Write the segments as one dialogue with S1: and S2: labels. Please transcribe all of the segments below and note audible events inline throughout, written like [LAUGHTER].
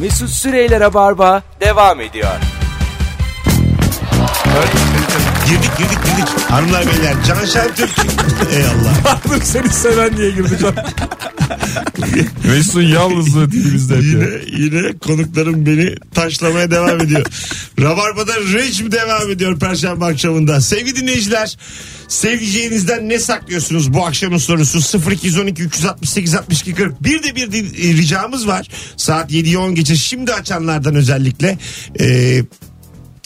S1: Mesut Süreyler'e barba devam ediyor.
S2: Girdik girdik girdik. Hanımlar beyler Can Şentürk. Ey Allah.
S3: Artık seni seven diye girdi
S2: [LAUGHS]
S3: can. Mesut'un yalnızlığı dilimizde hep ya.
S2: Yine, yine konuklarım beni taşlamaya devam ediyor. Rabarba'da rejim devam ediyor Perşembe akşamında. Sevgili dinleyiciler sevdiceğinizden ne saklıyorsunuz bu akşamın sorusu 0212 368 62 40. Bir de bir din- e, ricamız var. Saat 7'yi 10 geçe şimdi açanlardan özellikle. Ee,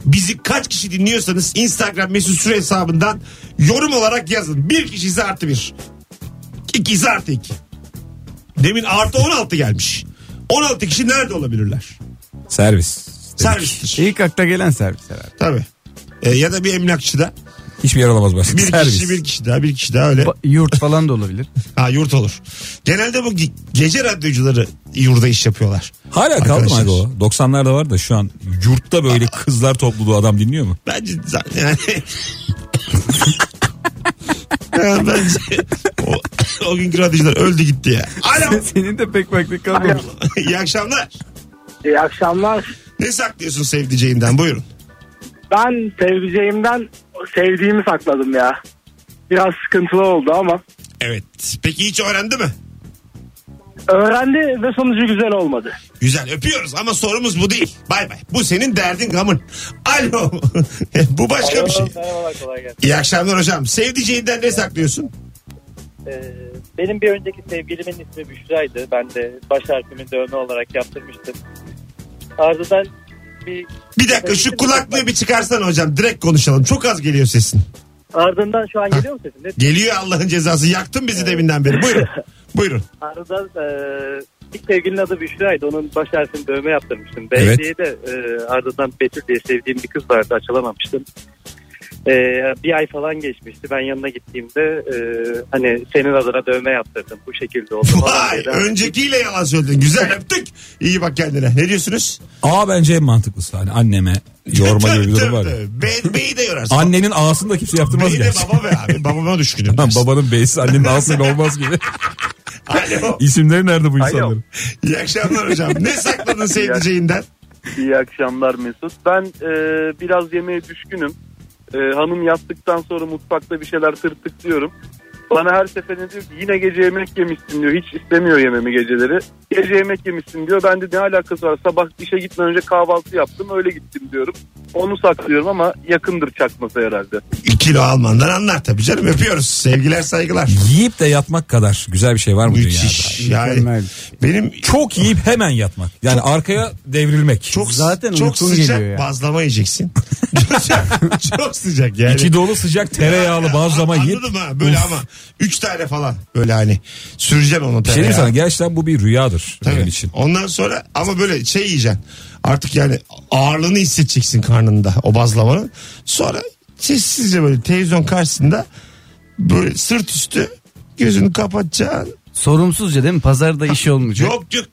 S2: Bizi kaç kişi dinliyorsanız Instagram mesut süre hesabından yorum olarak yazın. Bir kişi ise artı bir. İkisi artı iki. Demin artı 16 gelmiş. 16 kişi nerede olabilirler?
S3: Servis. dedik.
S2: Servistir.
S3: İlk akla gelen servis herhalde.
S2: Tabii. Ee, ya da bir emlakçıda.
S3: Hiçbir yer olamaz başka.
S2: Bir
S3: servis.
S2: kişi bir kişi daha bir kişi daha öyle.
S4: Ba- Yurt falan da olabilir.
S2: Ha yurt olur. Genelde bu ge- gece radyocuları yurda iş yapıyorlar.
S3: Hala kaldı mı
S2: Arkadaşlar.
S3: abi o? 90'larda var da şu an yurtta böyle kızlar topluluğu adam
S2: [LAUGHS]
S3: dinliyor mu?
S2: Bence za- yani... Ya bence o, o günkü radyocular öldü gitti ya. Alo.
S4: [LAUGHS] Senin de pek vakti kalmamış.
S2: [LAUGHS] İyi akşamlar.
S5: İyi akşamlar.
S2: Ne saklıyorsun sevdiceğinden buyurun.
S5: Ben sevdiceğimden sevdiğimi sakladım ya. Biraz sıkıntılı oldu ama.
S2: Evet. Peki hiç öğrendi mi?
S5: Öğrendi ve sonucu güzel olmadı.
S2: Güzel öpüyoruz ama sorumuz bu değil. Bay bay. Bu senin derdin gamın. Alo. [LAUGHS] bu başka bir şey.
S6: Merhabalar kolay gelsin.
S2: İyi akşamlar hocam. Sevdiceğinden ne saklıyorsun?
S6: Ee, benim bir önceki sevgilimin ismi Büşra'ydı. Ben de baş harfimin dövme olarak yaptırmıştım. Ardından bir
S2: Bir dakika şu kulaklığı bir çıkarsana hocam. Direkt konuşalım. Çok az geliyor sesin.
S6: ardından şu an geliyor mu sesin? Ne?
S2: Geliyor Allah'ın cezası. Yaktın bizi deminden beri. Buyurun. [LAUGHS] Buyurun.
S6: Ardından e, ilk sevgilinin adı Büşra'ydı. Onun baş harfini dövme yaptırmıştım.
S3: Evet.
S6: Belediyede e, ardından Betül diye sevdiğim bir kız vardı. Açılamamıştım. E, bir ay falan geçmişti. Ben yanına gittiğimde e, hani senin adına dövme yaptırdım. Bu şekilde oldu. falan
S2: Vay
S6: dedi.
S2: öncekiyle yalan söyledin. Güzel öptük. İyi bak kendine. Ne diyorsunuz?
S3: A bence en mantıklısı. Hani anneme yorma gibi bir
S2: [LAUGHS]
S3: durum var ya.
S2: Be, beyi de yorarsın.
S3: Annenin A'sını da kimse yaptırmaz
S2: Beyi de
S3: gerçi.
S2: baba be abi. Babama düşkünüm.
S3: Lan babanın B'si annenin A'sıyla
S2: [LAUGHS]
S3: olmaz gibi. [LAUGHS]
S2: Alo.
S3: İsimleri nerede bu insanların?
S2: İyi akşamlar hocam. Ne sakladın sevdiceğinden?
S7: İyi akşamlar Mesut. Ben e, biraz yemeğe düşkünüm. E, hanım yattıktan sonra mutfakta bir şeyler tırtıklıyorum. Bana her seferinde diyor ki yine gece yemek yemişsin diyor. Hiç istemiyor yememi geceleri. Gece yemek yemişsin diyor. Ben de ne alakası var sabah işe gitmeden önce kahvaltı yaptım öyle gittim diyorum. Onu saklıyorum ama yakındır çakması herhalde.
S2: 2 kilo Alman'dan anlar tabii canım. Öpüyoruz. Sevgiler saygılar.
S3: Yiyip de yatmak kadar güzel bir şey var mı dünyada?
S2: Müthiş. Yani
S4: Mükemmel.
S2: benim
S3: Çok yiyip hemen yatmak. Yani arkaya devrilmek.
S2: çok
S4: Zaten
S2: çok
S4: uykun
S2: sıcak
S4: geliyor ya.
S2: bazlama yiyeceksin. [LAUGHS] çok, çok sıcak yani.
S3: İçi dolu sıcak tereyağlı bazlama yiyip.
S2: Anladım ha böyle
S3: Uf.
S2: ama. Üç tane falan böyle hani süreceksin onu
S3: Bir şey diyeyim sana
S2: tereyağı.
S3: gerçekten bu bir rüyadır
S2: Tabii.
S3: benim için.
S2: Ondan sonra ama böyle şey yiyeceksin. Artık yani ağırlığını hissedeceksin karnında o bazlamanın. Sonra sessizce böyle televizyon karşısında böyle sırt üstü gözünü kapatacaksın.
S4: Sorumsuzca değil mi? Pazarda iş olmayacak.
S2: Yok yok.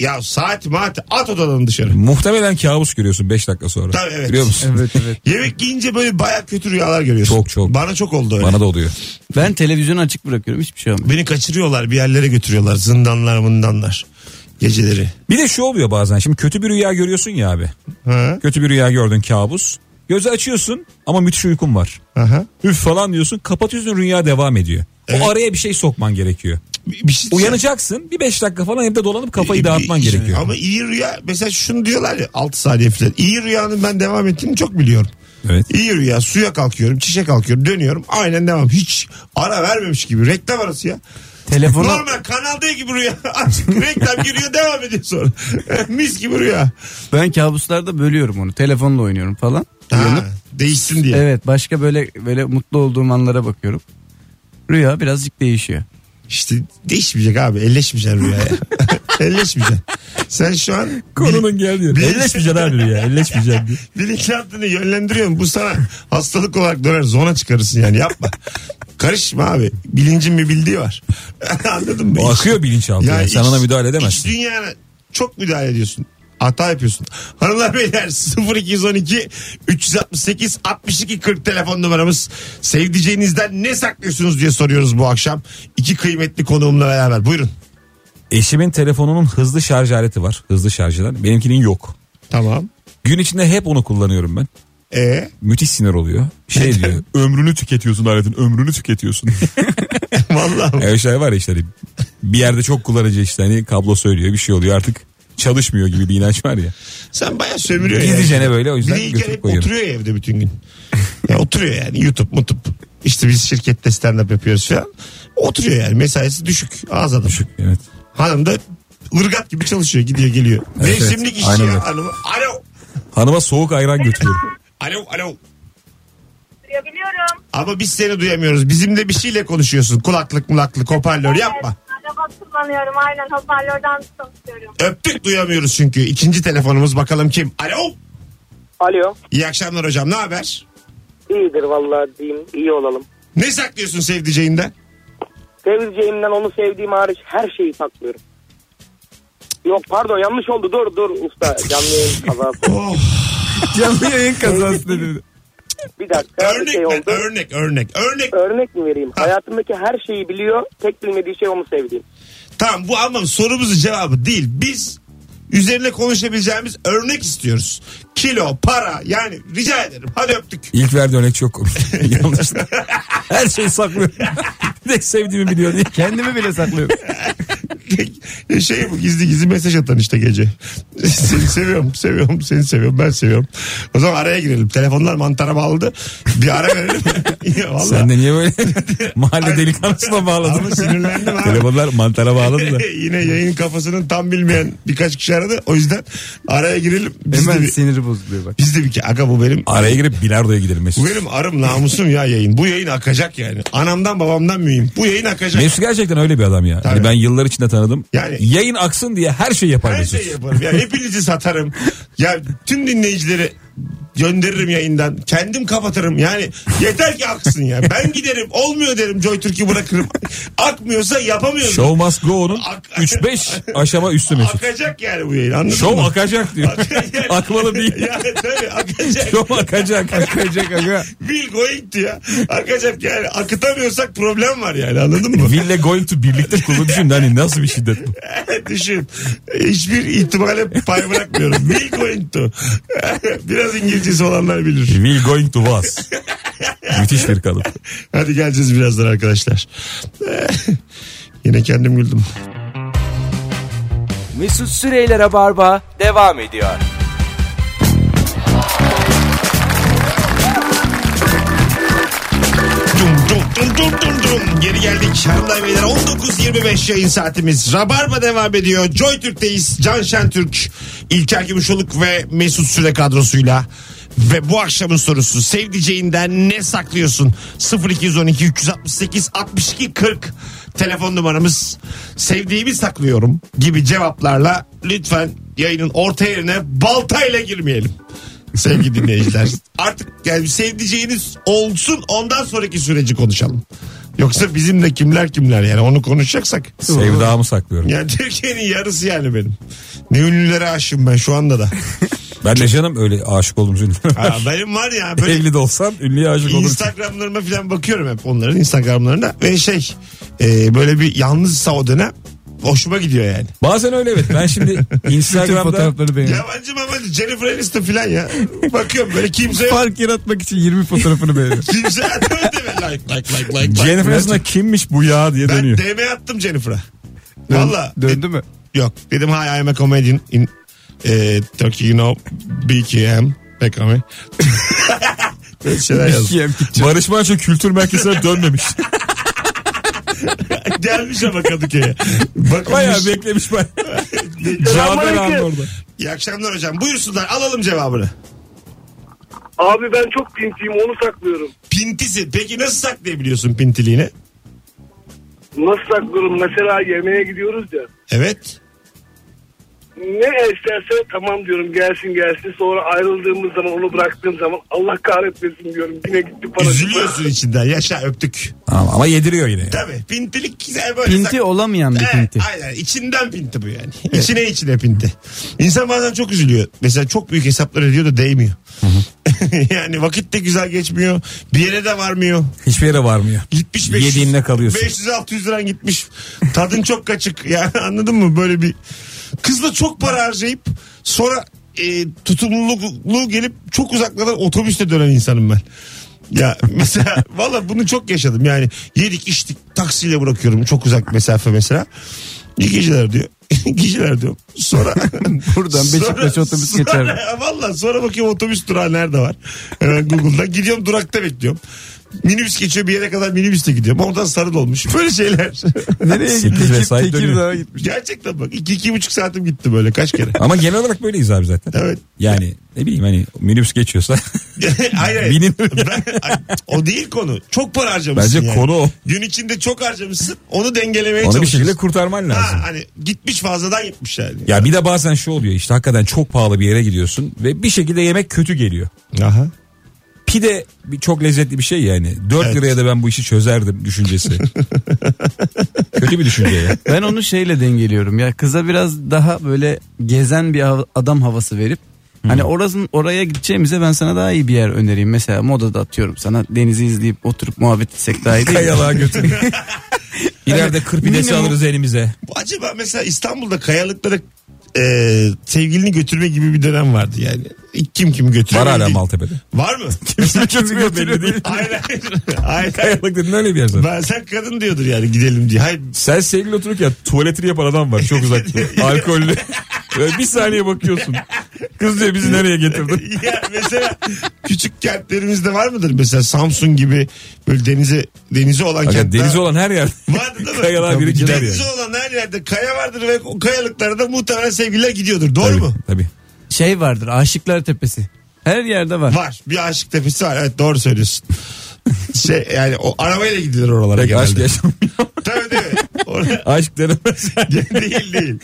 S2: Ya saat maat at odadan dışarı.
S3: Muhtemelen kabus görüyorsun 5 dakika sonra.
S2: Tabii, evet.
S3: Biliyor musun?
S4: Evet evet.
S2: Yemek yiyince böyle baya kötü rüyalar görüyorsun.
S3: Çok, çok.
S2: Bana çok oldu öyle.
S3: Bana da oluyor.
S4: Ben televizyonu açık bırakıyorum. Hiçbir şey olmuyor.
S2: Beni kaçırıyorlar bir yerlere götürüyorlar zindanlar mındanlar. Geceleri.
S3: Bir de şu oluyor bazen. Şimdi kötü bir rüya görüyorsun ya abi.
S2: Ha,
S3: Kötü bir rüya gördün kabus. Gözü açıyorsun ama müthiş uykun var.
S2: aha.
S3: Üf falan diyorsun. Kapatıyorsun rüya devam ediyor.
S2: Evet.
S3: O araya bir şey sokman gerekiyor.
S2: Bir, bir şey
S3: Uyanacaksın. Bir 5 dakika falan evde dolanıp kafayı
S2: Bir-
S3: dağıtman
S2: bir-
S3: gerekiyor.
S2: Ama iyi rüya mesela şunu diyorlar ya 6 saniye falan. İyi rüyanın ben devam ettiğini çok biliyorum.
S3: Evet.
S2: İyi rüya suya kalkıyorum çişe kalkıyorum dönüyorum aynen devam. Hiç ara vermemiş gibi reklam arası ya.
S4: Telefonu
S2: Normal Kanal D gibi rüya [LAUGHS] açık reklam giriyor devam ediyor sonra. [LAUGHS] Mis gibi rüya.
S4: ben kabuslarda bölüyorum onu. Telefonla oynuyorum falan.
S2: Ha, değişsin diye.
S4: Evet başka böyle böyle mutlu olduğum anlara bakıyorum. Rüya birazcık [LAUGHS] değişiyor.
S2: İşte değişmeyecek abi. Elleşmeyeceksin rüyaya. [LAUGHS] elleşmeyeceksin. Sen şu an
S3: Konunun geldi.
S2: Bir-
S3: Elleşmeyeceksin abi rüya. Elleşmeyeceksin. diye.
S2: bilinçaltını yönlendiriyorsun. Bu sana hastalık olarak döner. Zona çıkarırsın yani yapma. Karışma abi. Bilincin bir bildiği var. [LAUGHS] Anladın mı?
S3: O
S2: Hiç-
S3: akıyor bilinçaltı.
S2: Ya
S3: Yani. Sen
S2: iç-
S3: ona müdahale
S2: iç
S3: edemezsin.
S2: dünyana çok müdahale ediyorsun. Hata yapıyorsun. Hanımlar beyler 0212 368 62 40 telefon numaramız. Sevdiceğinizden ne saklıyorsunuz diye soruyoruz bu akşam. İki kıymetli konuğumla beraber. Buyurun.
S3: Eşimin telefonunun hızlı şarj aleti var. Hızlı şarj eden. Benimkinin yok.
S2: Tamam.
S3: Gün içinde hep onu kullanıyorum ben.
S2: E [LAUGHS]
S3: Müthiş sinir oluyor. Şey diyor. [LAUGHS] ömrünü tüketiyorsun aletin. Ömrünü tüketiyorsun.
S2: vallahi
S3: Yani öyle şeyler var [LAUGHS] ya işte hani bir yerde çok kullanıcı işte hani kablo söylüyor bir şey oluyor artık çalışmıyor gibi bir inanç var ya.
S2: sen bayağı sömürüyorsun. yani.
S3: Gizlicene böyle o
S2: Bir
S3: yüzden
S2: de İlker
S3: götürüp
S2: hep
S3: koyuyorum.
S2: oturuyor ya evde bütün gün. Ya oturuyor yani YouTube mutup. İşte biz şirkette stand up yapıyoruz falan. Oturuyor yani mesaisi düşük. Az adam.
S3: Düşük evet.
S2: Hanım da ırgat gibi çalışıyor gidiyor geliyor.
S3: Evet,
S2: Mevsimlik
S3: evet.
S2: işçi
S3: Aynen
S2: ya
S3: öyle.
S2: hanımı. Alo.
S3: Hanıma soğuk ayran götürüyorum.
S2: Alo alo.
S8: Duyabiliyorum.
S2: Ama biz seni duyamıyoruz. Bizimle bir şeyle konuşuyorsun. Kulaklık mulaklık hoparlör yapma.
S8: Evet, araba kullanıyorum aynen hoparlörden çalışıyorum.
S2: Öptük duyamıyoruz çünkü. İkinci telefonumuz bakalım kim? Alo.
S9: Alo.
S2: İyi akşamlar hocam ne haber?
S9: İyidir vallahi diyeyim. iyi olalım.
S2: Ne saklıyorsun sevdiceğinden?
S9: Sevdiceğimden onu sevdiğim hariç her şeyi saklıyorum. Yok pardon yanlış oldu. Dur dur usta. Canlı yayın kazası.
S2: Oh,
S4: Canlı yayın kazası dedi.
S9: Bir dakika. bir
S2: örnek
S9: şey
S2: ver,
S9: oldu.
S2: örnek örnek örnek.
S9: Örnek mi vereyim? Hayatımdaki her şeyi biliyor. Tek bilmediği şey onu sevdiğim.
S2: Tamam bu ama sorumuzun cevabı değil. Biz üzerine konuşabileceğimiz örnek istiyoruz. Kilo, para yani rica ederim. Hadi öptük. [LAUGHS]
S3: İlk verdiği örnek çok [LAUGHS] komik. Yanlış. Her şeyi saklıyorum. Bir de sevdiğimi biliyor diye.
S4: Kendimi bile saklıyorum.
S2: şey bu gizli gizli mesaj atan işte gece. [LAUGHS] seni seviyorum, seviyorum, seni seviyorum, ben seviyorum. O zaman araya girelim. Telefonlar mantara bağladı. Bir ara verelim. [LAUGHS] Ya Vallahi.
S3: Sen de niye [LAUGHS] böyle mahalle delikanlısına bağladın?
S2: Ama sinirlendim abi.
S3: Telefonlar mantara bağladı [LAUGHS] da.
S2: [LAUGHS] Yine yayın kafasının tam bilmeyen birkaç kişi aradı. O yüzden araya girelim. Biz de
S4: [LAUGHS] Hemen
S2: bir,
S4: siniri bozuluyor bak.
S2: biz de bir ke- aga bu benim
S3: Araya girip bilardoya gidelim
S2: Bu
S3: Mesut.
S2: benim arım namusum ya yayın. Bu yayın akacak yani. Anamdan babamdan mühim. Bu yayın akacak.
S3: Mesut gerçekten öyle bir adam ya.
S2: Tabii.
S3: Hani ben yıllar içinde tanıdım.
S2: Yani-
S3: Yayın aksın diye her şeyi yapar
S2: Her şey
S3: Mesut.
S2: şeyi yaparım. Ya hepinizi satarım. Ya tüm dinleyicileri gönderirim yayından. Kendim kapatırım. Yani yeter ki aksın ya. Ben giderim. Olmuyor derim. Joy Türk'ü bırakırım. Akmıyorsa yapamıyorum.
S3: Show must go'nun
S2: [LAUGHS] Ak-
S3: 3-5 aşama üstü Mesut.
S2: Akacak yani bu yayın. Anladın
S3: Şov
S2: mı?
S3: akacak diyor.
S2: Akacak.
S3: [LAUGHS] Akmalı değil.
S2: ya tabii akacak.
S3: Şov akacak.
S4: Kayacak aga.
S2: Will going to ya. Akacak yani. Akıtamıyorsak problem var yani anladın mı?
S3: Ville going to birlikte kulübü düşün. Hani nasıl bir şiddet bu?
S2: [LAUGHS] Düşün. Hiçbir ihtimale pay bırakmıyorum. Will going to. [LAUGHS] Biraz İngilizcesi olanlar bilir.
S3: Will going to was. Müthiş bir kalıp.
S2: Hadi geleceğiz birazdan arkadaşlar. [LAUGHS] Yine kendim güldüm.
S1: Mesut Süreyler'e barba devam ediyor.
S2: Dum dum dum dum dum dum. Geri geldik. Hanımlar beyler 19.25 yayın saatimiz. Rabarba devam ediyor. Joy Türk'teyiz. Can Şentürk, İlker Gümüşoluk ve Mesut Süre kadrosuyla. Ve bu akşamın sorusu sevdiceğinden ne saklıyorsun? 0212 368 62 40 telefon numaramız. Sevdiğimi saklıyorum gibi cevaplarla lütfen yayının orta yerine baltayla girmeyelim. Sevgili dinleyiciler. Artık yani sevdiceğiniz olsun ondan sonraki süreci konuşalım. Yoksa bizim de kimler kimler yani onu konuşacaksak.
S3: Sevdamı saklıyorum.
S2: Yani Türkiye'nin yarısı yani benim. Ne ünlülere aşığım ben şu anda da.
S3: Ben de canım öyle aşık olduğum ünlüler. [LAUGHS]
S2: Ha, benim var ya böyle
S3: Evli de olsan ünlüye aşık olursun.
S2: Instagramlarıma falan bakıyorum hep onların Instagramlarına. Ve şey e, böyle bir yalnızsa o dönem hoşuma gidiyor yani.
S3: Bazen öyle evet. Ben şimdi
S4: Bütün
S3: Instagram'da
S4: fotoğrafları beğeniyorum.
S2: Yabancı mabancı Jennifer Aniston falan ya. Bakıyorum böyle kimse yok.
S4: Fark yaratmak için 20 fotoğrafını beğeniyorum.
S2: Kimse [LAUGHS] like like like like. like.
S3: Jennifer Aniston'a kimmiş bu ya diye
S2: Ben
S3: dönüyor.
S2: DM attım Jennifer'a. Valla.
S3: [LAUGHS]
S4: Döndü mü?
S2: Yok. Dedim hi I'm a comedian in e, Turkey you know BKM. BKM. [LAUGHS] Böyle şeyler yazdım.
S3: [LAUGHS]
S4: Yem gideceğim.
S3: Barış Manço kültür merkezine dönmemiş.
S2: Gelmiş ama
S3: [LAUGHS]
S2: Kadıköy'e. şey- Bakılmış.
S3: Bayağı beklemiş [LAUGHS] bayağı. Cafer abi orada.
S2: İyi akşamlar hocam. Buyursunlar alalım cevabını.
S7: Abi ben çok pintiyim onu saklıyorum.
S2: Pintisi. Peki nasıl saklayabiliyorsun pintiliğini?
S7: Nasıl saklıyorum? Mesela yemeğe gidiyoruz ya.
S2: Evet.
S7: Ne isterse tamam diyorum gelsin gelsin. Sonra ayrıldığımız zaman onu bıraktığım zaman Allah kahretmesin diyorum. Yine gitti para.
S2: Üzülüyorsun içinden. Yaşa öptük.
S3: Ama, ama yediriyor yine.
S2: Tabii. Pintilik güzel böyle.
S4: Pinti olamayan bir
S2: Evet,
S4: pinti.
S2: Aynen içinden pinti bu yani. İçine içine pinti. İnsan bazen çok üzülüyor. Mesela çok büyük hesaplar ediyor da değmiyor. [LAUGHS] yani vakit de güzel geçmiyor. Bir yere de varmıyor.
S3: Hiçbir yere varmıyor.
S2: Gitmiş 500.
S3: Yediğinle kalıyorsun.
S2: 500-600 liran gitmiş. Tadın çok kaçık. Ya [LAUGHS] anladın mı? Böyle bir kızla çok para harcayıp sonra e, tutumluluğu gelip çok uzaklardan otobüste dönen insanım ben. Ya [LAUGHS] mesela valla bunu çok yaşadım yani yedik içtik taksiyle bırakıyorum çok uzak mesafe mesela. İyi geceler diyor. [LAUGHS] İyi geceler diyor. Sonra
S4: [LAUGHS] Buradan Beşiktaş
S2: [LAUGHS]
S4: otobüs
S2: sonra-
S4: geçer mi?
S2: Valla E, sonra bakıyorum otobüs durağı nerede var? Hemen Google'da gidiyorum durakta bekliyorum. Minibüs geçiyor bir yere kadar minibüste gidiyorum. Oradan sarı dolmuş. Böyle
S3: [LAUGHS]
S2: şeyler.
S4: Nereye
S3: Sekiz
S4: gitti?
S3: vesait
S4: Tekir-
S3: dönüyor.
S4: Tekirdağ'a gitmiş.
S2: Gerçekten bak iki iki buçuk saatim gitti böyle kaç
S3: [LAUGHS]
S2: kere.
S3: Ama genel olarak böyleyiz abi zaten.
S2: Evet. [LAUGHS]
S3: Yani ne bileyim hani minibüs geçiyorsa [LAUGHS]
S2: hayır, hayır.
S3: Binin.
S2: Ben- ay, o değil konu. Çok para harcamışsın
S3: bence
S2: yani.
S3: konu o.
S2: Gün içinde çok harcamışsın. Onu dengelemeye
S3: Onu bir
S2: çalışıyorsun.
S3: şekilde kurtarman lazım.
S2: Ha, hani gitmiş fazladan gitmiş yani.
S3: Ya bir de bazen şu oluyor işte hakikaten çok pahalı bir yere gidiyorsun ve bir şekilde yemek kötü geliyor.
S2: Aha.
S3: Pide bir- çok lezzetli bir şey yani. 4
S2: Evet.
S3: liraya da ben bu işi çözerdim düşüncesi. kötü bir düşünce ya.
S4: Ben onu şeyle dengeliyorum ya kıza biraz daha böyle gezen bir hav- adam havası verip hani orasın oraya gideceğimize ben sana daha iyi bir yer önereyim. Mesela modada atıyorum sana denizi izleyip oturup muhabbet etsek daha iyi değil.
S3: [LAUGHS]
S4: mi?
S3: Kayalığa götür. İleride kır pidesi
S4: Minimum-
S3: alırız elimize.
S2: Bu Acaba mesela İstanbul'da kayalıklara e, sevgilini götürme gibi bir dönem vardı yani. Kim kim götürüyor?
S3: Var hala
S2: Bilmiyorum.
S3: Maltepe'de.
S2: Var
S3: [LAUGHS]
S2: mı?
S3: Götürüyor belli değil.
S2: hayır hayır.
S3: [LAUGHS]
S2: hayır, hayır.
S3: Kayalık dedin öyle bir yer zaten.
S2: Ben sen kadın diyordur yani gidelim diye. Hayır
S3: Sen sevgili otururken tuvaletini yapan adam var çok [LAUGHS] uzakta. Alkollü. Böyle bir saniye bakıyorsun. Kız diyor bizi nereye getirdin?
S2: [LAUGHS] ya mesela küçük kentlerimizde var mıdır mesela Samsun gibi böyle denize denize olan
S3: Hakikaten
S2: kentler
S3: denizi olan her yer.
S2: vardır değil mi?
S3: Kayalığa biri gider
S2: Denizi
S3: yani.
S2: olan her yerde kaya vardır ve o kayalıklarda muhtemelen sevgililer gidiyordur. Doğru
S3: Tabii,
S2: mu?
S3: Tabii.
S4: Şey vardır Aşıklar Tepesi. Her yerde var.
S2: Var. Bir aşık tepesi var. Evet doğru
S3: [LAUGHS]
S2: söylüyorsun. şey yani o arabayla gidilir oralara
S3: Pek
S2: genelde.
S3: aşk yaşamıyor.
S2: Tabii değil mi? Orada-
S3: [LAUGHS] aşk denemez.
S2: [LAUGHS] değil değil.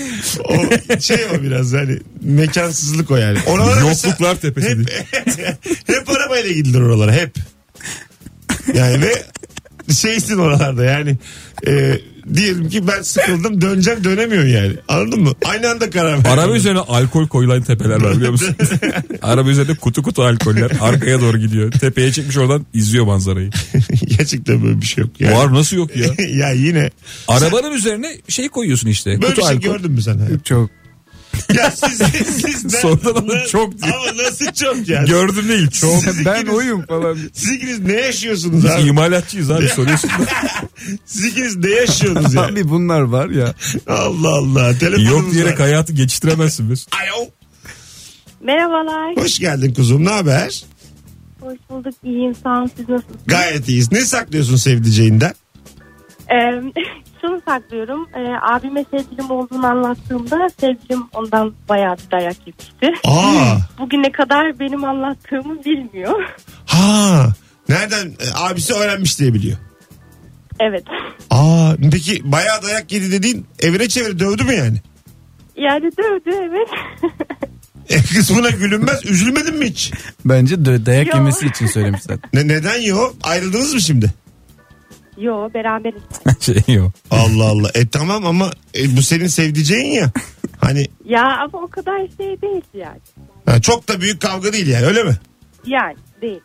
S2: O şey o biraz hani mekansızlık o yani. Oralara
S3: [LAUGHS]
S2: mesela-
S3: Yokluklar tepesi. diye.
S2: hep [LAUGHS] arabayla gidilir oralara hep. Yani ve şeysin oralarda yani e, diyelim ki ben sıkıldım döneceğim dönemiyorum yani anladın mı? Aynı anda karar ver.
S3: Araba üzerine alkol koyulan tepeler var biliyor [LAUGHS] musun? Araba üzerinde kutu kutu alkoller arkaya doğru gidiyor. Tepeye çıkmış oradan izliyor manzarayı.
S2: [LAUGHS] Gerçekten böyle bir şey yok. Yani.
S3: Var nasıl yok ya?
S2: [LAUGHS] ya yine
S3: Arabanın üzerine şey koyuyorsun işte.
S2: böyle bir
S3: kutu
S2: şey
S3: alkol.
S2: gördün mü sen? hayatım?
S4: Çok.
S2: Ya siz, siz ben-
S3: Sonradan ama çok diyor.
S2: Ama nasıl çok ya?
S3: Gördüm değil çok.
S2: Siz
S4: Ben
S2: ikiniz-
S4: oyum falan.
S2: Siz ikiniz ne yaşıyorsunuz
S3: Biz
S2: abi?
S3: imalatçıyız
S4: [LAUGHS]
S3: abi soruyorsun. da.
S2: Siz ikiniz ne yaşıyorsunuz ya?
S4: Abi bunlar var ya.
S2: Allah Allah. Telefonumuz
S3: Yok diyerek
S2: var.
S3: hayatı geçiştiremezsin Mesut.
S2: Alo.
S8: Merhabalar.
S2: Hoş geldin kuzum. Ne haber?
S8: Hoş bulduk. İyiyim. Sağ olun. Siz nasılsınız?
S2: Gayet iyiyiz. Ne saklıyorsun sevdiceğinden?
S8: Ee, [LAUGHS] şunu saklıyorum. Ee, abime sevgilim olduğunu anlattığımda sevgilim ondan bayağı bir dayak yemişti.
S2: Aa.
S8: [LAUGHS] Bugüne kadar benim anlattığımı bilmiyor. [LAUGHS]
S2: Ha. Nereden? E, abisi öğrenmiş diye biliyor.
S8: Evet.
S2: Aa. Peki bayağı dayak yedi dediğin evine çevir dövdü mü yani?
S8: Yani dövdü evet. [LAUGHS]
S2: E, kısmına gülünmez. Üzülmedin mi hiç?
S4: Bence dö- dayak
S8: Yo.
S4: yemesi için söylemiş [LAUGHS] zaten.
S2: Ne, neden yo? Ayrıldınız mı şimdi?
S8: Yo beraberiz.
S3: Şey yok.
S2: Allah Allah. E tamam ama e, bu senin sevdiceğin ya. Hani
S8: Ya ama o kadar şey değil yani.
S2: ha, çok da büyük kavga değil yani öyle mi?
S8: Yani değil.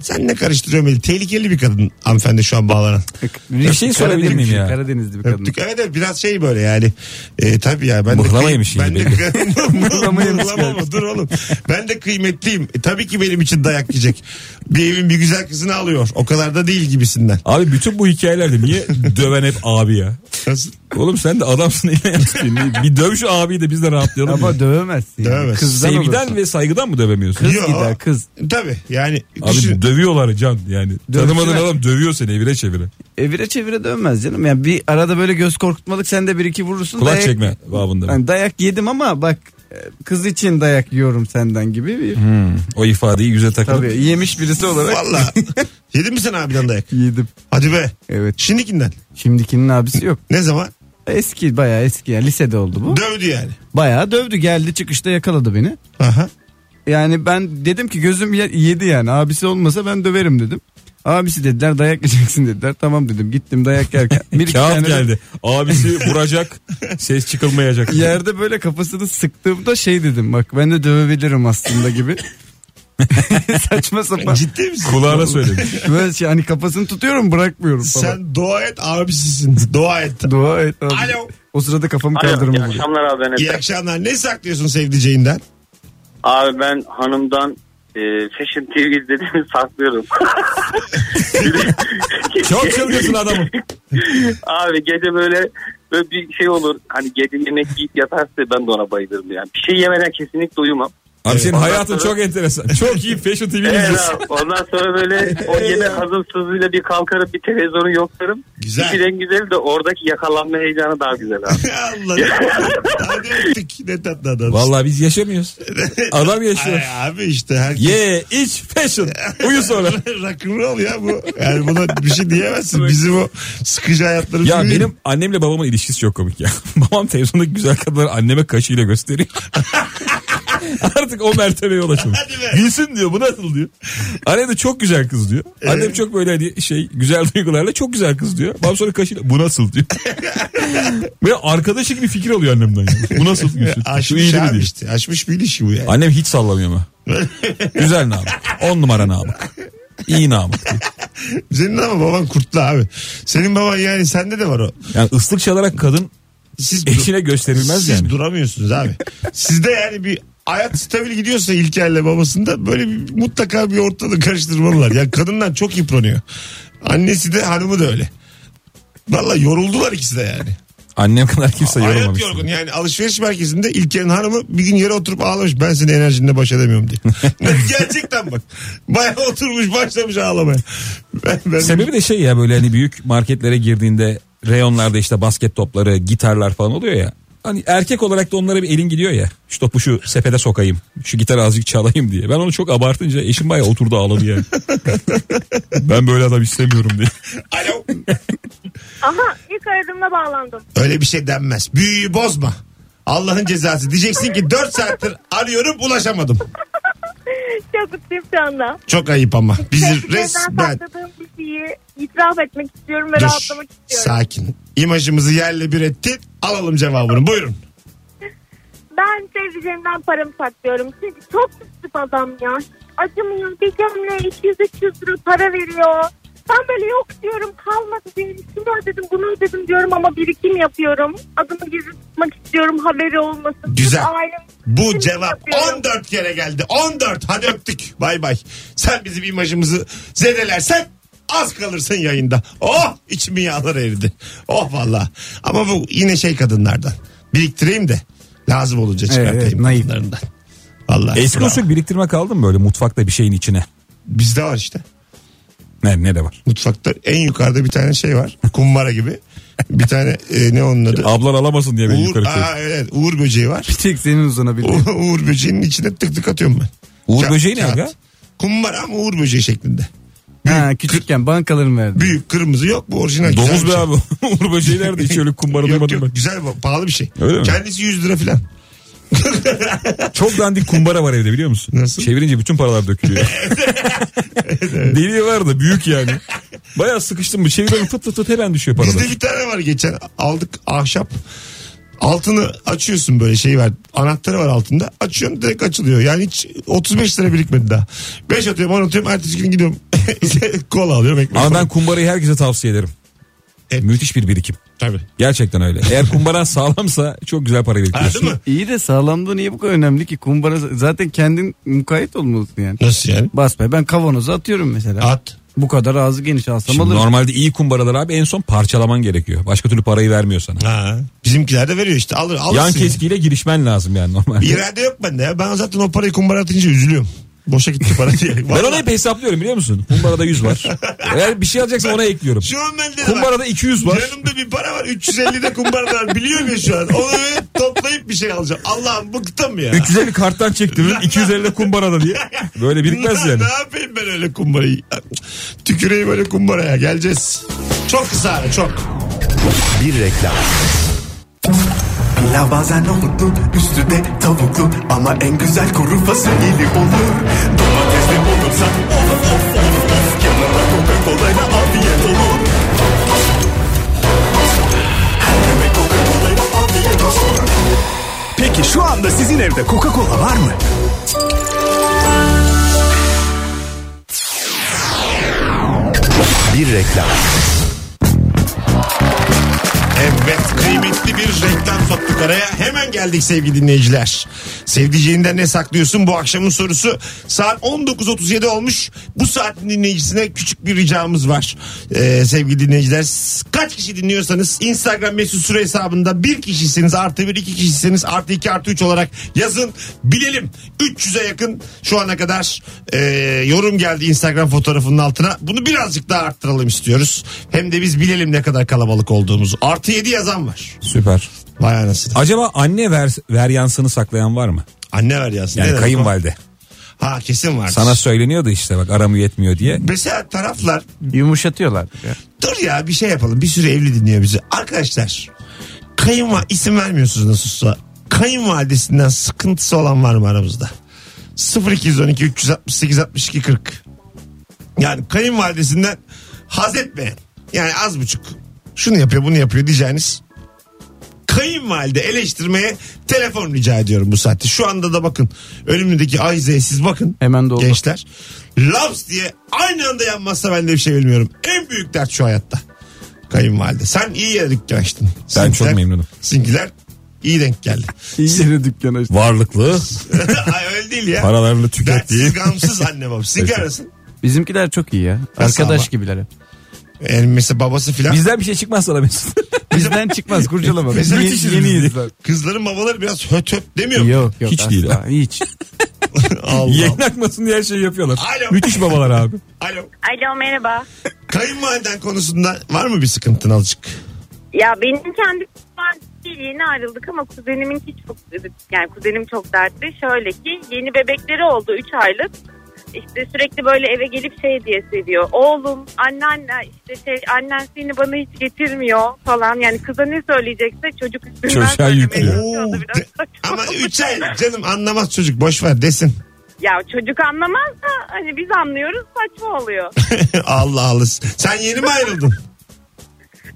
S2: Sen ne karıştırıyorsun beni? Tehlikeli bir kadın hanımefendi şu an bağlanan.
S4: Bir
S3: şey sorabilir miyim ya?
S4: Karadenizli bir kadın.
S2: Öptük. Evet evet biraz şey böyle yani. E, tabii ya ben
S3: Mıhlama
S2: de
S3: yemiş
S2: ben de [LAUGHS]
S3: yine
S4: [LAUGHS]
S2: mıhlama
S4: Mıhlama yemiş
S2: mı? Dur oğlum. Ben de kıymetliyim. E, tabii ki benim için dayak yiyecek. Bir evin bir güzel kızını alıyor. O kadar da değil gibisinden.
S3: Abi bütün bu hikayelerde niye döven hep abi ya?
S2: Nasıl?
S3: Oğlum sen de adamsın yine yapsın. Bir döv şu abiyi de biz de rahatlayalım. ya.
S4: Ama dövemezsin. yani.
S2: Dövemez.
S4: Kızdan
S3: Sevgiden
S4: olursun.
S3: ve saygıdan mı dövemiyorsun?
S4: Kız
S2: Yo.
S4: gider kız.
S2: Tabii yani
S3: Abi
S2: düşün.
S3: dövüyorlar can yani. Tanımadığın
S4: Dövsünler.
S3: adam dövüyor seni evire çevire.
S4: Evire çevire dönmez canım. Yani bir arada böyle göz korkutmalık sen de bir iki vurursun.
S3: Kulak
S4: dayak-
S3: çekme babında.
S4: Yani dayak yedim ama bak e, kız için dayak yiyorum senden gibi bir
S3: Hmm. O ifadeyi yüze takılıp.
S4: tabii yemiş birisi olarak
S2: Valla.
S4: [LAUGHS]
S2: Yedin mi sen abiden dayak?
S4: yedim.
S2: Hadi be.
S4: Evet.
S2: Şimdikinden.
S4: Şimdikinin abisi yok.
S2: Ne zaman?
S4: Eski bayağı eski yani lisede oldu bu.
S2: Dövdü yani.
S4: Bayağı dövdü geldi çıkışta yakaladı beni.
S2: Aha.
S4: Yani ben dedim ki gözüm ye- yedi yani abisi olmasa ben döverim dedim. Abisi dediler dayak yiyeceksin dediler. Tamam dedim gittim
S3: [LAUGHS]
S4: dayak yerken. Bir iki
S3: Kağıt
S4: tane de
S3: geldi. Abisi vuracak. ses çıkılmayacak.
S4: Yerde böyle kafasını sıktığımda şey dedim bak ben de dövebilirim aslında gibi. [LAUGHS] Saçma sapan.
S2: Ciddi misin?
S3: Kulağına söylemiş.
S4: Böyle şey hani kafasını tutuyorum bırakmıyorum falan.
S2: Sen dua et abisisin. Dua et.
S4: Dua et abi.
S2: Alo.
S4: O sırada kafamı
S6: Alo, iyi
S4: kaldırma buluyor.
S6: akşamlar abi ben Efe.
S2: İyi akşamlar. Ne saklıyorsun sevdiceğinden? [LAUGHS]
S6: Abi ben hanımdan e, Fashion TV izlediğimi [LAUGHS] saklıyorum.
S3: Çok çılgınsın adamım.
S6: Abi gece böyle böyle bir şey olur. Hani gece yemek yiyip yatarsa ben de ona bayılırım yani. Bir şey yemeden kesinlikle uyumam.
S3: Abi senin
S6: Ondan
S3: hayatın
S6: sonra-
S3: çok enteresan. Çok iyi Fashion TV
S6: Evet
S3: izliyorsun.
S6: abi, ondan sonra böyle o yemek hazımsızlığıyla bir kalkarım bir televizyonu yoklarım.
S2: Güzel.
S6: Bir en güzel de oradaki yakalanma heyecanı daha güzel abi.
S2: Allah. Hadi öptük. Ne tatlı adam.
S3: Vallahi biz yaşamıyoruz. Adam yaşıyor.
S2: Ay, abi işte herkes. [LAUGHS]
S3: Ye, iç, fashion. Uyu sonra.
S2: Rock'n'roll ya bu. Yani buna bir şey diyemezsin. Bizim o sıkıcı hayatlarımız.
S3: Ya
S2: değil.
S3: benim annemle babamın ilişkisi çok komik ya. [LAUGHS] Babam televizyondaki güzel kadınları anneme kaşıyla gösteriyor. [LAUGHS] Artık o mertebeye ulaşılmış.
S2: Hadi be.
S3: Gülsün diyor bu nasıl diyor. Annem de çok güzel kız diyor. Annem çok böyle hani şey güzel duygularla çok güzel kız diyor. Babam sonra kaşıyla bu nasıl diyor. böyle arkadaşı gibi fikir alıyor annemden. Yani. Bu nasıl Gülsün? Şu
S2: Aşmış
S3: iyi değil mi
S2: E, abi
S3: diyor.
S2: işte. Aşmış bir ilişki bu yani.
S3: Annem hiç
S2: [LAUGHS]
S3: sallamıyor mu? güzel namık. On numara namık. İyi namık. diyor.
S2: Senin ama baban kurtlu abi. Senin baban yani sende de var o.
S3: Yani ıslık çalarak kadın
S2: Siz
S3: eşine gösterilmez
S2: Siz
S3: yani.
S2: duramıyorsunuz
S3: [LAUGHS]
S2: abi. Sizde yani bir hayat stabil gidiyorsa İlker'le babasında böyle bir, mutlaka bir ortalığı karıştırmalılar. Ya kadından çok yıpranıyor. Annesi de hanımı da öyle. Valla yoruldular ikisi de yani.
S3: Annem kadar kimse
S2: Hayat
S3: yorulmamış.
S2: yorgun yani alışveriş merkezinde İlker'in hanımı bir gün yere oturup ağlamış. Ben senin enerjinle baş edemiyorum
S3: [LAUGHS]
S2: diye. Gerçekten bak. Baya oturmuş başlamış ağlamaya. Ben, ben-
S3: Sebebi de şey ya böyle hani büyük marketlere girdiğinde reyonlarda işte basket topları, gitarlar falan oluyor ya. Hani erkek olarak da onlara bir elin gidiyor ya. Şu topu şu sepete sokayım. Şu gitarı azıcık çalayım diye. Ben onu çok abartınca eşim bayağı oturdu
S2: [LAUGHS]
S3: ağladı yani. ben böyle adam istemiyorum diye.
S2: Alo.
S8: Aha ilk aradığımda bağlandım.
S2: Öyle bir şey denmez. Büyüyü bozma. Allah'ın cezası. Diyeceksin ki 4 saattir arıyorum ulaşamadım.
S8: Çok mutluyum şu anda.
S2: Çok ayıp ama. Bizi resmen...
S8: resmen Şey, sakladığım bir şeyi itiraf etmek istiyorum ve
S2: Dur.
S8: rahatlamak istiyorum.
S2: Sakin. İmajımızı yerle bir ettin. Alalım cevabını. Buyurun.
S8: Ben sevdiceğimden paramı saklıyorum. Çünkü çok üstüp adam ya. Acımıyor. Bir gömleğe 200-300 lira para veriyor. Ben böyle yok diyorum kalmadı diyorum. Şunu ödedim bunu ödedim diyorum ama birikim yapıyorum. Adımı gizli tutmak istiyorum haberi olmasın.
S2: Güzel.
S8: Ailem
S2: Bu
S8: Şimdi
S2: cevap
S8: yapıyorum.
S2: 14 kere geldi. 14. Hadi öptük. Bay bay. Sen bizim imajımızı zedelersen az kalırsın yayında. Oh içimin yağları eridi. Oh valla. Ama bu yine şey kadınlardan. Biriktireyim de lazım olunca
S4: Evet, evet,
S2: çıkartayım
S4: naif.
S2: kadınlarından. Vallahi.
S3: Eski
S2: bravo.
S3: usul biriktirme kaldı mı böyle mutfakta bir şeyin içine?
S2: Bizde var işte.
S3: Ne, ne de var?
S2: Mutfakta en yukarıda bir tane şey var. Kumbara gibi. Bir tane e, ne onun adı?
S3: Ablan alamasın diye beni
S2: Uğur,
S3: Şey, yukarı koyuyor.
S2: aa, evet, Uğur böceği var.
S4: Bir tek senin uzanabildiğin.
S2: U- Uğur böceğinin içine tık tık atıyorum ben.
S3: Uğur
S2: Ka-
S3: böceği ne
S2: kağıt.
S3: aga?
S2: Kumbara ama Uğur böceği şeklinde.
S4: Ha, küçükken bankaların verdi.
S2: Büyük kırmızı yok bu orijinal. güzel
S3: Domuz
S2: bir
S3: be
S2: şey.
S3: abi. [LAUGHS] Uğur böceği nerede? Hiç öyle kumbara
S2: Yok
S3: duymadım
S2: yok
S3: ben.
S2: güzel bu, pahalı bir şey.
S3: Öyle mi?
S2: Kendisi 100 lira falan.
S3: Çok dandik kumbara var evde biliyor musun?
S2: Nasıl?
S3: Çevirince bütün
S2: [LAUGHS]
S3: paralar dökülüyor. Deliği var da büyük yani. Bayağı sıkıştım mı? Çeviriyorum fıt fıt fıt hemen düşüyor paralar.
S2: Bizde bir tane var geçen aldık ahşap. Altını açıyorsun böyle şey var. Anahtarı var altında. Açıyorsun direkt açılıyor. Yani hiç 35 lira birikmedi daha. 5 atıyorum 10 atıyorum. Ertesi gün gidiyorum. [LAUGHS] Kola alıyorum ekmek.
S3: Ama ben
S2: alıyorum.
S3: kumbarayı herkese tavsiye ederim.
S2: Evet.
S3: Müthiş bir birikim.
S2: Tabii.
S3: Gerçekten öyle. Eğer kumbaran [LAUGHS] sağlamsa çok güzel para
S2: Ha, değil
S3: biriktiriyorsun.
S2: mi?
S4: İyi de sağlamlığı niye bu kadar önemli ki? Kumbara zaten kendin mukayyet olmalısın yani.
S2: Nasıl yani?
S4: Basma ben kavanoza atıyorum mesela.
S2: At.
S4: Bu kadar ağzı geniş alsam
S3: Şimdi
S4: alırım.
S3: normalde iyi kumbaralar abi en son parçalaman gerekiyor. Başka türlü parayı vermiyor sana.
S2: Ha. Bizimkiler de veriyor işte. Alır, alırsın.
S3: Yan
S2: yani.
S3: keskiyle girişmen lazım yani normalde.
S2: İrade yok bende ya. Ben zaten o parayı kumbara atınca üzülüyorum. Boşa gitti para diye.
S3: [LAUGHS] Ben
S2: Vallahi.
S3: onu hep hesaplıyorum biliyor musun? Kumbarada
S2: [LAUGHS]
S3: 100 var. Eğer bir şey alacaksam ona ekliyorum.
S2: Şu an bende de var.
S3: Kumbarada 200 var.
S2: Yanımda bir para var. 350 de kumbara var. Biliyorum ya şu an. Onu böyle toplayıp bir şey alacağım. Allah'ım bıktım ya.
S3: 350 karttan çektim. 250 de kumbarada diye. Böyle birikmez
S2: Ne- [LAUGHS]
S3: yani.
S2: Ne yapayım ben öyle kumbarayı? Tüküreyim öyle kumbaraya. Geleceğiz. Çok kısa ara, çok.
S10: Bir reklam. Pilav bazen nohutlu, üstü de tavuklu ama en güzel kuru fasulyeli olur. Domatesli olursa of of of of yanına Coca Cola ile afiyet olur. Her yemek Coca Cola ile afiyet olsun. Peki şu anda sizin evde Coca Cola var mı? Bir reklam.
S2: Evet kıymetli bir reklam soktuk araya. Hemen geldik sevgili dinleyiciler. Sevdiceğinden ne saklıyorsun bu akşamın sorusu. Saat 19.37 olmuş. Bu saatin dinleyicisine küçük bir ricamız var. Ee, sevgili dinleyiciler kaç kişi dinliyorsanız Instagram mesut süre hesabında bir kişisiniz artı bir iki kişisiniz artı iki artı üç olarak yazın bilelim. 300'e yakın şu ana kadar e, yorum geldi Instagram fotoğrafının altına. Bunu birazcık daha arttıralım istiyoruz. Hem de biz bilelim ne kadar kalabalık olduğumuzu. Artı 7 yazan var.
S3: Süper.
S2: Vay anasını.
S3: Acaba anne ver, veryansını saklayan var mı?
S2: Anne ver yazsın. Ne
S3: Yani
S2: demek
S3: kayınvalide.
S2: o? Ha kesin var.
S3: Sana söyleniyordu işte bak aramı yetmiyor diye.
S2: Mesela taraflar
S4: Yumuşatıyorlar.
S2: dur ya bir şey yapalım. Bir sürü evli dinliyor bizi. Arkadaşlar kayınva isim vermiyorsunuz nasılsa. Kayınvalidesinden sıkıntısı olan var mı aramızda? 0212 368 62 40. Yani kayınvalidesinden haz etmeyen. Yani az buçuk. Şunu yapıyor bunu yapıyor diyeceğiniz kayınvalide eleştirmeye telefon rica ediyorum bu saatte. Şu anda da bakın önümdeki Ayze'ye siz bakın.
S4: Hemen doldu.
S2: Gençler. Laps diye aynı anda yanmazsa ben de bir şey bilmiyorum. En büyük dert şu hayatta. Kayınvalide. Sen iyi yere dükkan açtın.
S3: Ben çok memnunum.
S2: Sinkiler iyi denk geldi.
S4: İyi yere dükkan açtı.
S3: Varlıklı
S2: Ay öyle değil ya.
S3: paralarını tükettiği.
S2: Dertsiz gamsız anne babam. Sigarasın.
S4: Bizimkiler çok iyi ya.
S2: Nasıl
S4: Arkadaş
S2: ama?
S4: gibiler. hep.
S2: Yani mesela babası filan.
S3: Bizden bir şey çıkmaz sana Mesut.
S4: Bizden çıkmaz kurcalama. Biz
S2: Mesela
S4: yeni,
S2: müthişiz
S4: yeniyiz.
S2: biz. Kızların babaları biraz höt höt demiyor mu?
S4: Yok yok.
S3: Hiç
S4: asla,
S3: değil ha. [LAUGHS]
S4: Hiç.
S2: [LAUGHS] Allah.
S3: Yayın akmasın diye her şeyi yapıyorlar.
S2: Alo.
S3: Müthiş babalar abi.
S2: Alo.
S8: Alo merhaba.
S2: Kayınvaliden konusunda var mı bir sıkıntın azıcık?
S8: Ya benim kendi kuzenim değil, yeni ayrıldık ama kuzeniminki çok yani kuzenim çok dertli. Şöyle ki yeni bebekleri oldu 3 aylık. İşte sürekli böyle eve gelip şey diye seviyor. Oğlum anneanne işte şey annen seni bana hiç getirmiyor falan. Yani kıza ne söyleyecekse çocuk üstünden
S3: Çocuğa
S8: söylemeye
S3: yüklüyor.
S8: çalışıyordu
S2: Oo,
S8: biraz.
S2: de- ama 3 ay canım anlamaz çocuk boş ver desin. [LAUGHS]
S8: Ya çocuk anlamaz da hani biz anlıyoruz saçma oluyor.
S2: Allah Allah. Sen yeni mi ayrıldın?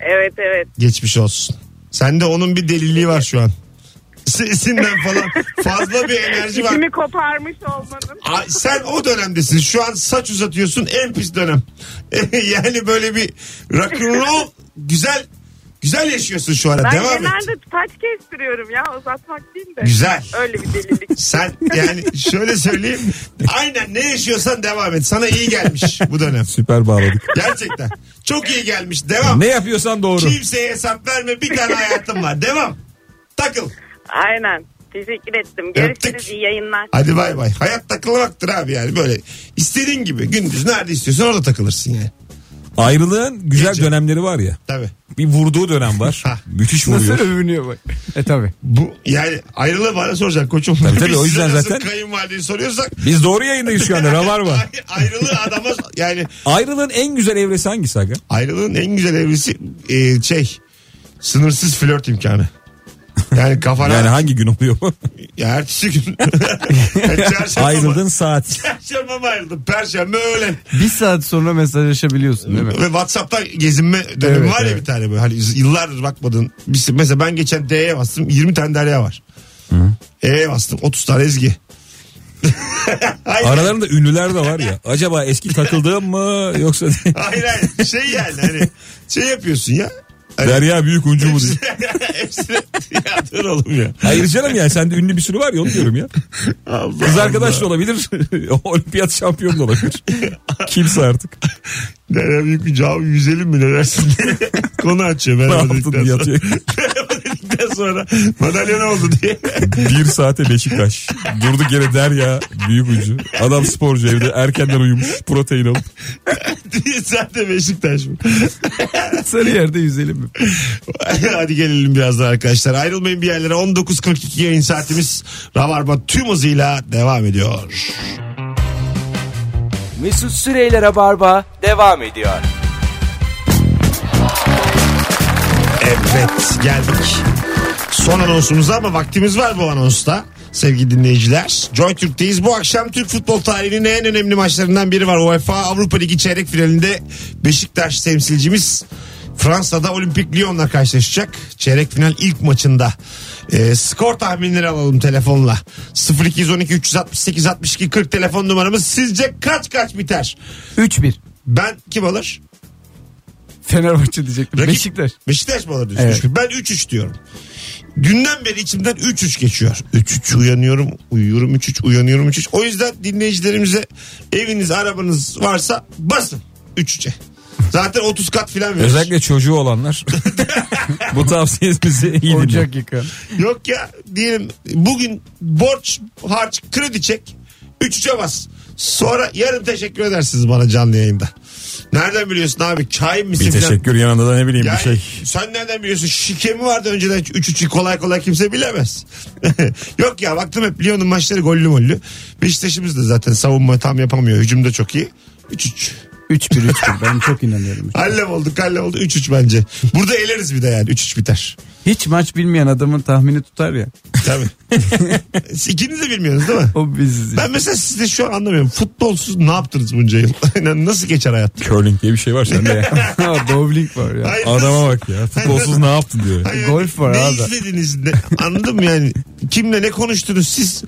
S8: evet evet.
S2: Geçmiş olsun. Sende onun bir deliliği var şu an. Sesinden falan fazla bir enerji var.
S8: İçimi koparmış olmanın.
S2: Ay, Sen o dönemdesin. Şu an saç uzatıyorsun en pis dönem. [LAUGHS] yani böyle bir rock'n'roll güzel güzel yaşıyorsun şu ara.
S8: Ben
S2: Devam et.
S8: genelde taç kestiriyorum ya uzatmak değil de.
S2: Güzel.
S8: Öyle bir delilik.
S2: Sen yani şöyle söyleyeyim. Aynen ne yaşıyorsan devam et. Sana iyi gelmiş bu dönem.
S3: Süper bağladık.
S2: Gerçekten. Çok iyi gelmiş. Devam.
S3: Ne yapıyorsan doğru.
S2: Kimseye hesap verme. Bir tane hayatım var. Devam. Takıl.
S8: Aynen. Teşekkür ettim.
S2: Öptük.
S8: Görüşürüz. iyi yayınlar.
S2: Hadi bay bay. Hayat takılmaktır abi yani böyle. istediğin gibi gündüz nerede istiyorsan orada takılırsın yani.
S3: Ayrılığın güzel
S2: Gece.
S3: dönemleri var ya.
S2: Tabii.
S3: Bir vurduğu dönem var.
S2: Ha.
S3: Müthiş
S4: Nasıl
S3: vuruyor.
S4: övünüyor bak. E tabi.
S2: Bu yani ayrılığı bana soracak koçum.
S3: Tabii
S2: [LAUGHS]
S3: tabii,
S2: Biz
S3: o yüzden
S2: size nasıl
S3: zaten-
S2: Kayınvalideyi soruyorsak.
S3: Biz doğru yayındayız şu anda. Ravar var.
S2: [LAUGHS] ay- Ayrılığı adama yani
S3: Ayrılığın en güzel evresi hangisi aga?
S2: ayrılığın en güzel evresi e, şey sınırsız flört imkanı. Yani kafana
S3: Yani hangi gün oluyor bu?
S2: ya ertesi gün. [LAUGHS]
S3: [LAUGHS]
S2: Çarşamba mı?
S3: Ayrıldığın saat.
S2: Çarşamba mı ayrıldım? Perşembe öğlen.
S4: Bir saat sonra mesajlaşabiliyorsun değil mi?
S2: Ve Whatsapp'ta gezinme dönemi
S4: Evet,
S2: var ya
S4: evet.
S2: bir tane böyle. Hani yıllardır bakmadığın. bir- Mesela ben geçen D'ye bastım. 20 tane Derya var. E'ye bastım. 30 tane Ezgi. [LAUGHS] hayır,
S3: Aralarında ünlüler de var ya. Acaba eski takıldığım mı yoksa [LAUGHS]
S2: hayır hayır. Şey yani hani şey yapıyorsun ya. [LAUGHS]
S3: Derya Büyük Uncu mu diye.
S2: Hepsini ya dur oğlum ya.
S3: Hayır canım yani sende ünlü bir sürü var ya onu diyorum ya.
S2: Allah
S3: Kız
S2: Allah.
S3: arkadaş da olabilir. [LAUGHS] Olimpiyat şampiyonu da olabilir. Kimse artık.
S2: Derya büyük bir cevabı yüzelim mi ne dersin?
S3: [LAUGHS]
S2: Konu açıyor. Ben
S3: Ne
S2: öyle
S3: yaptın
S2: dedikten
S3: diye
S2: sonra.
S3: atıyor.
S2: Ben öyle dedikten sonra [LAUGHS] madalya ne oldu diye.
S3: [LAUGHS] Bir saate Beşiktaş. Durduk yere Derya Büyük Ucu. Adam sporcu evde erkenden uyumuş. Protein alıp.
S2: Sen de Beşiktaş mı?
S4: [LAUGHS] Sarı yerde yüzelim mi?
S2: Hadi gelelim biraz daha arkadaşlar. Ayrılmayın bir yerlere. 19.42 yayın saatimiz Rabarba tüm hızıyla devam ediyor.
S1: Mesut Süreyler'e barba devam ediyor.
S2: Evet geldik. Son anonsumuza ama vaktimiz var bu anonsta. Sevgili dinleyiciler. Joy Türk'teyiz. Bu akşam Türk futbol tarihinin en önemli maçlarından biri var. UEFA Avrupa Ligi çeyrek finalinde Beşiktaş temsilcimiz Fransa'da Olimpik Lyon'la karşılaşacak. Çeyrek final ilk maçında. Ee, skor tahminleri alalım telefonla. 0212 368 62 40 telefon numaramız. Sizce kaç kaç biter?
S4: 3-1.
S2: Ben kim alır?
S4: Fenerbahçe diyecektim.
S2: Rakip-
S4: Beşiktaş.
S2: Beşiktaş mı alır
S4: Evet.
S2: Ben 3-3 diyorum. Dünden beri içimden 3-3 geçiyor. 3-3 uyanıyorum, uyuyorum 3-3, uyanıyorum 3-3. O yüzden dinleyicilerimize eviniz, arabanız varsa basın 3-3'e. Zaten 30 kat filan verir.
S3: Özellikle çocuğu olanlar. [LAUGHS] Bu tavsiyemizi iyi dinleyin.
S4: Ocak yıkan.
S2: Yok ya diyelim bugün borç, harç, kredi çek. 3-3'e bas. Sonra yarın teşekkür edersiniz bana canlı yayında. Nereden biliyorsun abi? Kain misin?
S3: Bir
S2: filan?
S3: teşekkür yanında da ne bileyim
S2: Yani
S3: bir şey.
S2: sen nereden biliyorsun? Şike mi vardı önceden? 3-3'ü kolay kolay kimse bilemez. [LAUGHS] Yok ya baktım hep Lyon'un maçları gollü mollü. Beşiktaş'ımız da zaten savunma tam yapamıyor. Hücumda çok iyi. 3-3.
S4: 3-1 3-1 ben çok inanıyorum.
S2: Hallem oldu kallem oldu 3-3 bence. Burada eleriz bir de yani 3-3 biter.
S4: Hiç maç bilmeyen adamın tahmini tutar ya. [LAUGHS]
S2: Tabii. Siz İkiniz de bilmiyorsunuz değil mi?
S4: O biziz.
S2: Ben mesela sizi de şu an anlamıyorum. Futbolsuz ne yaptınız bunca yıl? [LAUGHS] Yani Nasıl geçer hayat?
S3: Curling diye bir şey var
S2: [LAUGHS]
S3: sende ya.
S4: [LAUGHS] Bowling var ya.
S2: Hayır, nasıl-
S3: Adama bak ya. Futbolsuz ne yaptın diyor.
S2: Hayır,
S4: golf var
S2: ne
S4: abi.
S2: izlediniz? Ne, anladın mı yani? Kimle ne konuştunuz siz?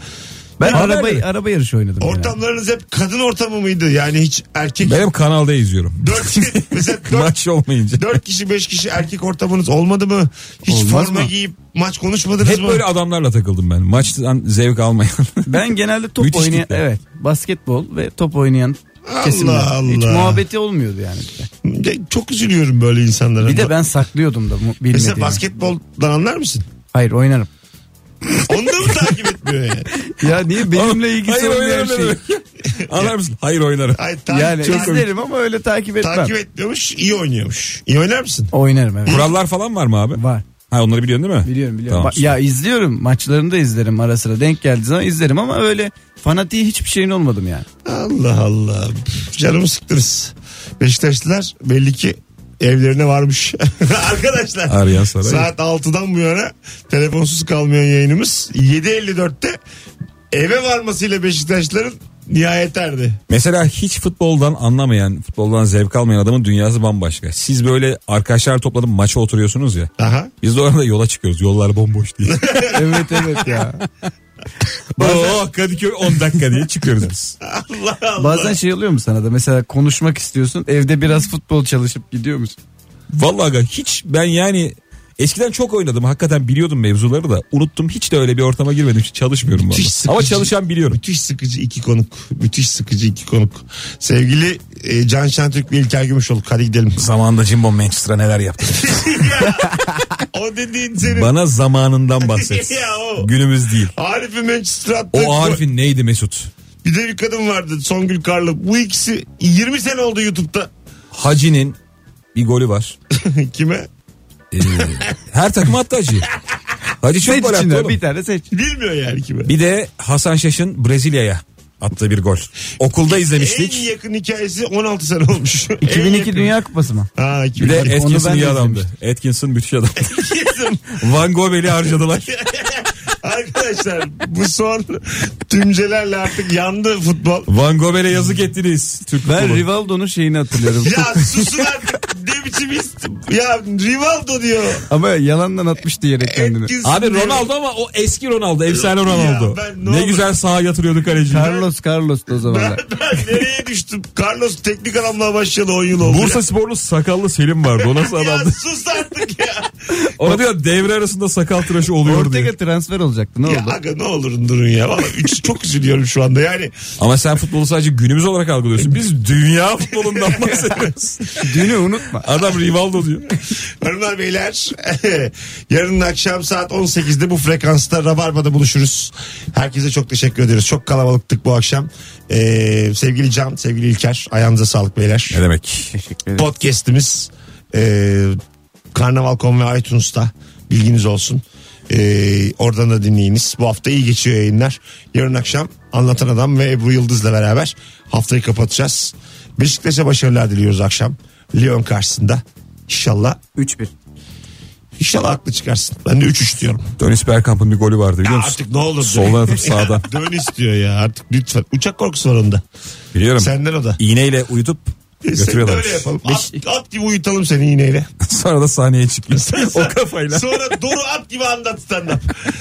S4: Ben
S3: Haber
S4: arabayı
S3: verin.
S4: araba yarışı oynadım. genelde.
S2: Ortamlarınız hep kadın ortamı mıydı? Yani hiç erkek...
S3: Benim kanalda izliyorum.
S4: [LAUGHS]
S2: Dört, mesela [LAUGHS] dört,
S3: Maç olmayınca.
S2: dört kişi beş kişi erkek ortamınız olmadı mı? Hiç
S4: Olmaz
S2: forma
S4: mı?
S2: giyip maç konuşmadınız
S3: Hep
S2: mı?
S3: böyle adamlarla takıldım ben. Maçtan
S2: [LAUGHS]
S3: zevk almayan.
S4: Ben genelde top
S3: Müthiş
S4: oynayan
S3: kitle.
S4: evet basketbol ve top oynayan
S2: Allah
S4: kesimler. Hiç
S2: Allah.
S4: muhabbeti olmuyordu yani. Bir de,
S2: Ya, Çok üzülüyorum böyle insanlara.
S4: Bir de ben saklıyordum da mu- bilmediğimi.
S2: Mesela basketboldan anlar mısın?
S4: Hayır oynarım.
S2: Onu da mı takip etmiyor yani?
S4: Ya niye benimle ilgisi
S3: Hayır
S4: olmayan
S3: oynarım.
S4: şey?
S3: dedim. [LAUGHS] Anlar mısın? Hayır oynarım.
S2: Ay, takip,
S4: Yani
S2: takip-
S4: izlerim ama öyle takip etmem.
S2: takip etmiyormuş, iyi oynuyormuş. İyi oynar mısın?
S4: Oynarım evet.
S3: Kurallar falan var mı abi?
S4: Var.
S3: Ha onları biliyorsun değil mi?
S4: Biliyorum biliyorum.
S3: Tamam,
S4: Ba-
S3: süper.
S4: ya izliyorum maçlarını da izlerim ara sıra denk geldiği zaman izlerim ama öyle fanatiği hiçbir şeyin olmadım yani.
S2: Allah Allah. Canımı sıktınız. Beşiktaşlılar belli ki evlerine varmış. [LAUGHS] Arkadaşlar.
S3: Arayan saray.
S2: Saat 6'dan bu yana telefonsuz kalmayan yayınımız 7.54'te eve varmasıyla Beşiktaşların nihayet erdi.
S3: Mesela hiç futboldan anlamayan, futboldan zevk almayan adamın dünyası bambaşka. Siz böyle arkadaşlar toplanıp maça oturuyorsunuz ya.
S2: Aha.
S3: Biz de orada yola çıkıyoruz. Yollar bomboş diye.
S4: evet evet ya.
S3: Oo Kadıköy 10 dakika diye çıkıyoruz biz.
S2: Allah Allah.
S4: [LAUGHS] Bazen şey oluyor mu sana da mesela konuşmak istiyorsun evde biraz futbol çalışıp gidiyor musun?
S3: Vallahi aga, hiç ben yani eskiden çok oynadım. Hakikaten biliyordum mevzuları da. Unuttum. Hiç de öyle bir ortama girmedim. Hiç çalışmıyorum
S2: Müthiş
S3: vallahi.
S2: sıkıcı.
S3: Ama çalışan biliyorum.
S2: Müthiş sıkıcı iki konuk. Müthiş sıkıcı iki konuk. Sevgili e, Can Şentürk ve İlker Gümüşoluk. Hadi
S3: [LAUGHS]
S2: gidelim.
S3: Zamanında Jimbo Manchester'a neler yaptı.
S2: o dediğin senin.
S3: [LAUGHS] Bana zamanından bahset.
S2: Ya o.
S3: Günümüz değil.
S2: Arif'i Manchester attı.
S3: O Arif'in neydi Mesut?
S2: Bir de bir kadın vardı Songül Karlı. Bu ikisi 20 sene oldu YouTube'da. [LAUGHS]
S3: Hacı'nin bir golü var.
S2: Kime?
S3: Ee, her takım attı Hacı. Hacı çok
S4: Seç
S3: gol attı
S4: içinden
S3: şey oğlum.
S4: bir tane seç.
S2: Bilmiyor yani kime.
S3: Bir de Hasan Şaş'ın Brezilya'ya attığı bir gol. Okulda
S2: En
S3: izlemiştik.
S2: yakın hikayesi 16 sene
S3: [LAUGHS]
S2: olmuş. En
S4: 2002
S2: yakın.
S4: Dünya Kupası mı?
S2: Ha,
S3: Bir
S2: [LAUGHS] 2002.
S3: de
S4: Onu ben
S3: Atkinson
S4: de
S3: iyi adamdı.
S4: izlemiştim.
S3: Atkinson müthiş adamdı. [LAUGHS] Van Gogh'u harcadılar.
S2: Arkadaşlar bu son tümcelerle artık yandı futbol.
S3: Van Gogh'e yazık ettiniz. Türk
S4: Ben
S3: futbolu.
S4: Rivaldo'nun şeyini hatırlıyorum.
S2: [LAUGHS] Ya susun artık ne biçim ist- Ya Rivaldo diyor.
S4: ama yalandan atmıştı yere kendini.
S2: Atkinson
S3: Abi
S2: diyor.
S3: Ronaldo ama o eski Ronaldo. Efsane
S2: Ya
S3: Ronaldo.
S2: ben ne
S3: ne
S2: olur-
S3: güzel sağa yatırıyordu kaleciyi.
S4: Carlos Carlos da o
S2: Ben,
S4: zamanlar.
S2: ben nereye düştüm? Carlos teknik adamla başlayalı 10 yıl oldu.
S3: Bursa sporlu sakallı Selim vardı. O
S2: [LAUGHS]
S3: nasıl
S2: ya. ya
S3: adamdı?
S2: sus artık
S3: [LAUGHS]
S2: ya.
S3: Ona diyor devre arasında sakal tıraşı oluyor diyor.
S4: Ortega transfer olacaktı ne
S2: ya
S4: oldu?
S2: aga ne olur durun ya. Vallahi üç, çok üzülüyorum şu anda yani.
S3: Ama sen futbolu sadece günümüz olarak algılıyorsun. Biz
S2: [LAUGHS]
S3: dünya futbolundan bahsediyoruz.
S4: Dünü unutma.
S3: Adam Rivaldo diyor.
S2: Hanımlar beyler [LAUGHS] yarın akşam saat 18'de bu frekansta Rabarba'da buluşuruz. Herkese çok teşekkür ediyoruz. Çok kalabalıktık bu akşam. Ee, sevgili Can, sevgili İlker ayağınıza sağlık beyler.
S3: Ne demek?
S2: Podcast'imiz e, Karnaval.com ve iTunes'ta bilginiz olsun. Ee, oradan da dinleyiniz. Bu hafta iyi geçiyor yayınlar. Yarın akşam Anlatan Adam ve Ebru Yıldız'la beraber haftayı kapatacağız. Beşiktaş'a başarılar diliyoruz akşam. Lyon karşısında. İnşallah
S4: 3-1.
S2: İnşallah haklı çıkarsın. Ben de 3-3 diyorum.
S3: Dönis Bergkamp'ın bir golü vardı biliyor
S2: Ya
S3: musun?
S2: artık ne olur. dön. [LAUGHS]
S3: Soldan atıp sağdan.
S2: Dön istiyor ya artık lütfen. Uçak korkusu var onda.
S3: Biliyorum.
S2: Senden o da.
S3: İğneyle uyutup
S2: Sen de
S3: götürüyorlar.
S2: öyle yapalım. At, at gibi uyutalım seni iğneyle.
S3: Sonra da
S2: [LAUGHS]
S3: sahneye çıkıyor. o kafayla.
S2: Sonra doğru at gibi anlat stand up.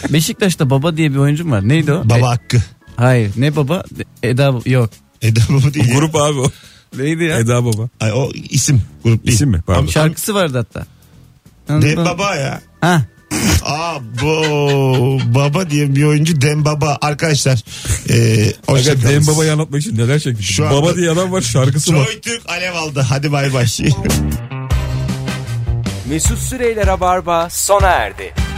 S4: Beşiktaş'ta baba diye bir oyuncum var. Neydi o?
S2: Baba hakkı.
S4: E, hayır. Ne baba? Eda yok.
S2: Eda baba değil. ya.
S3: Grup abi o.
S4: Neydi ya?
S3: Eda Baba.
S2: Ay, o isim grup değil.
S3: İsim mi? Pardon.
S2: Am-
S4: Şarkısı vardı hatta.
S2: am- Dem Baba ya.
S4: Ha.
S2: Aa bu baba diye bir oyuncu Dem Baba arkadaşlar. E, hoşça
S3: Aga
S2: kalın.
S3: Dem Baba'yı anlatmak için neler çekmiş.
S2: Şu anda-
S3: Baba diye adam var şarkısı var.
S2: Soy Türk alev aldı. Hadi bay bay.
S1: Mesut Süreyler'e barba sona erdi.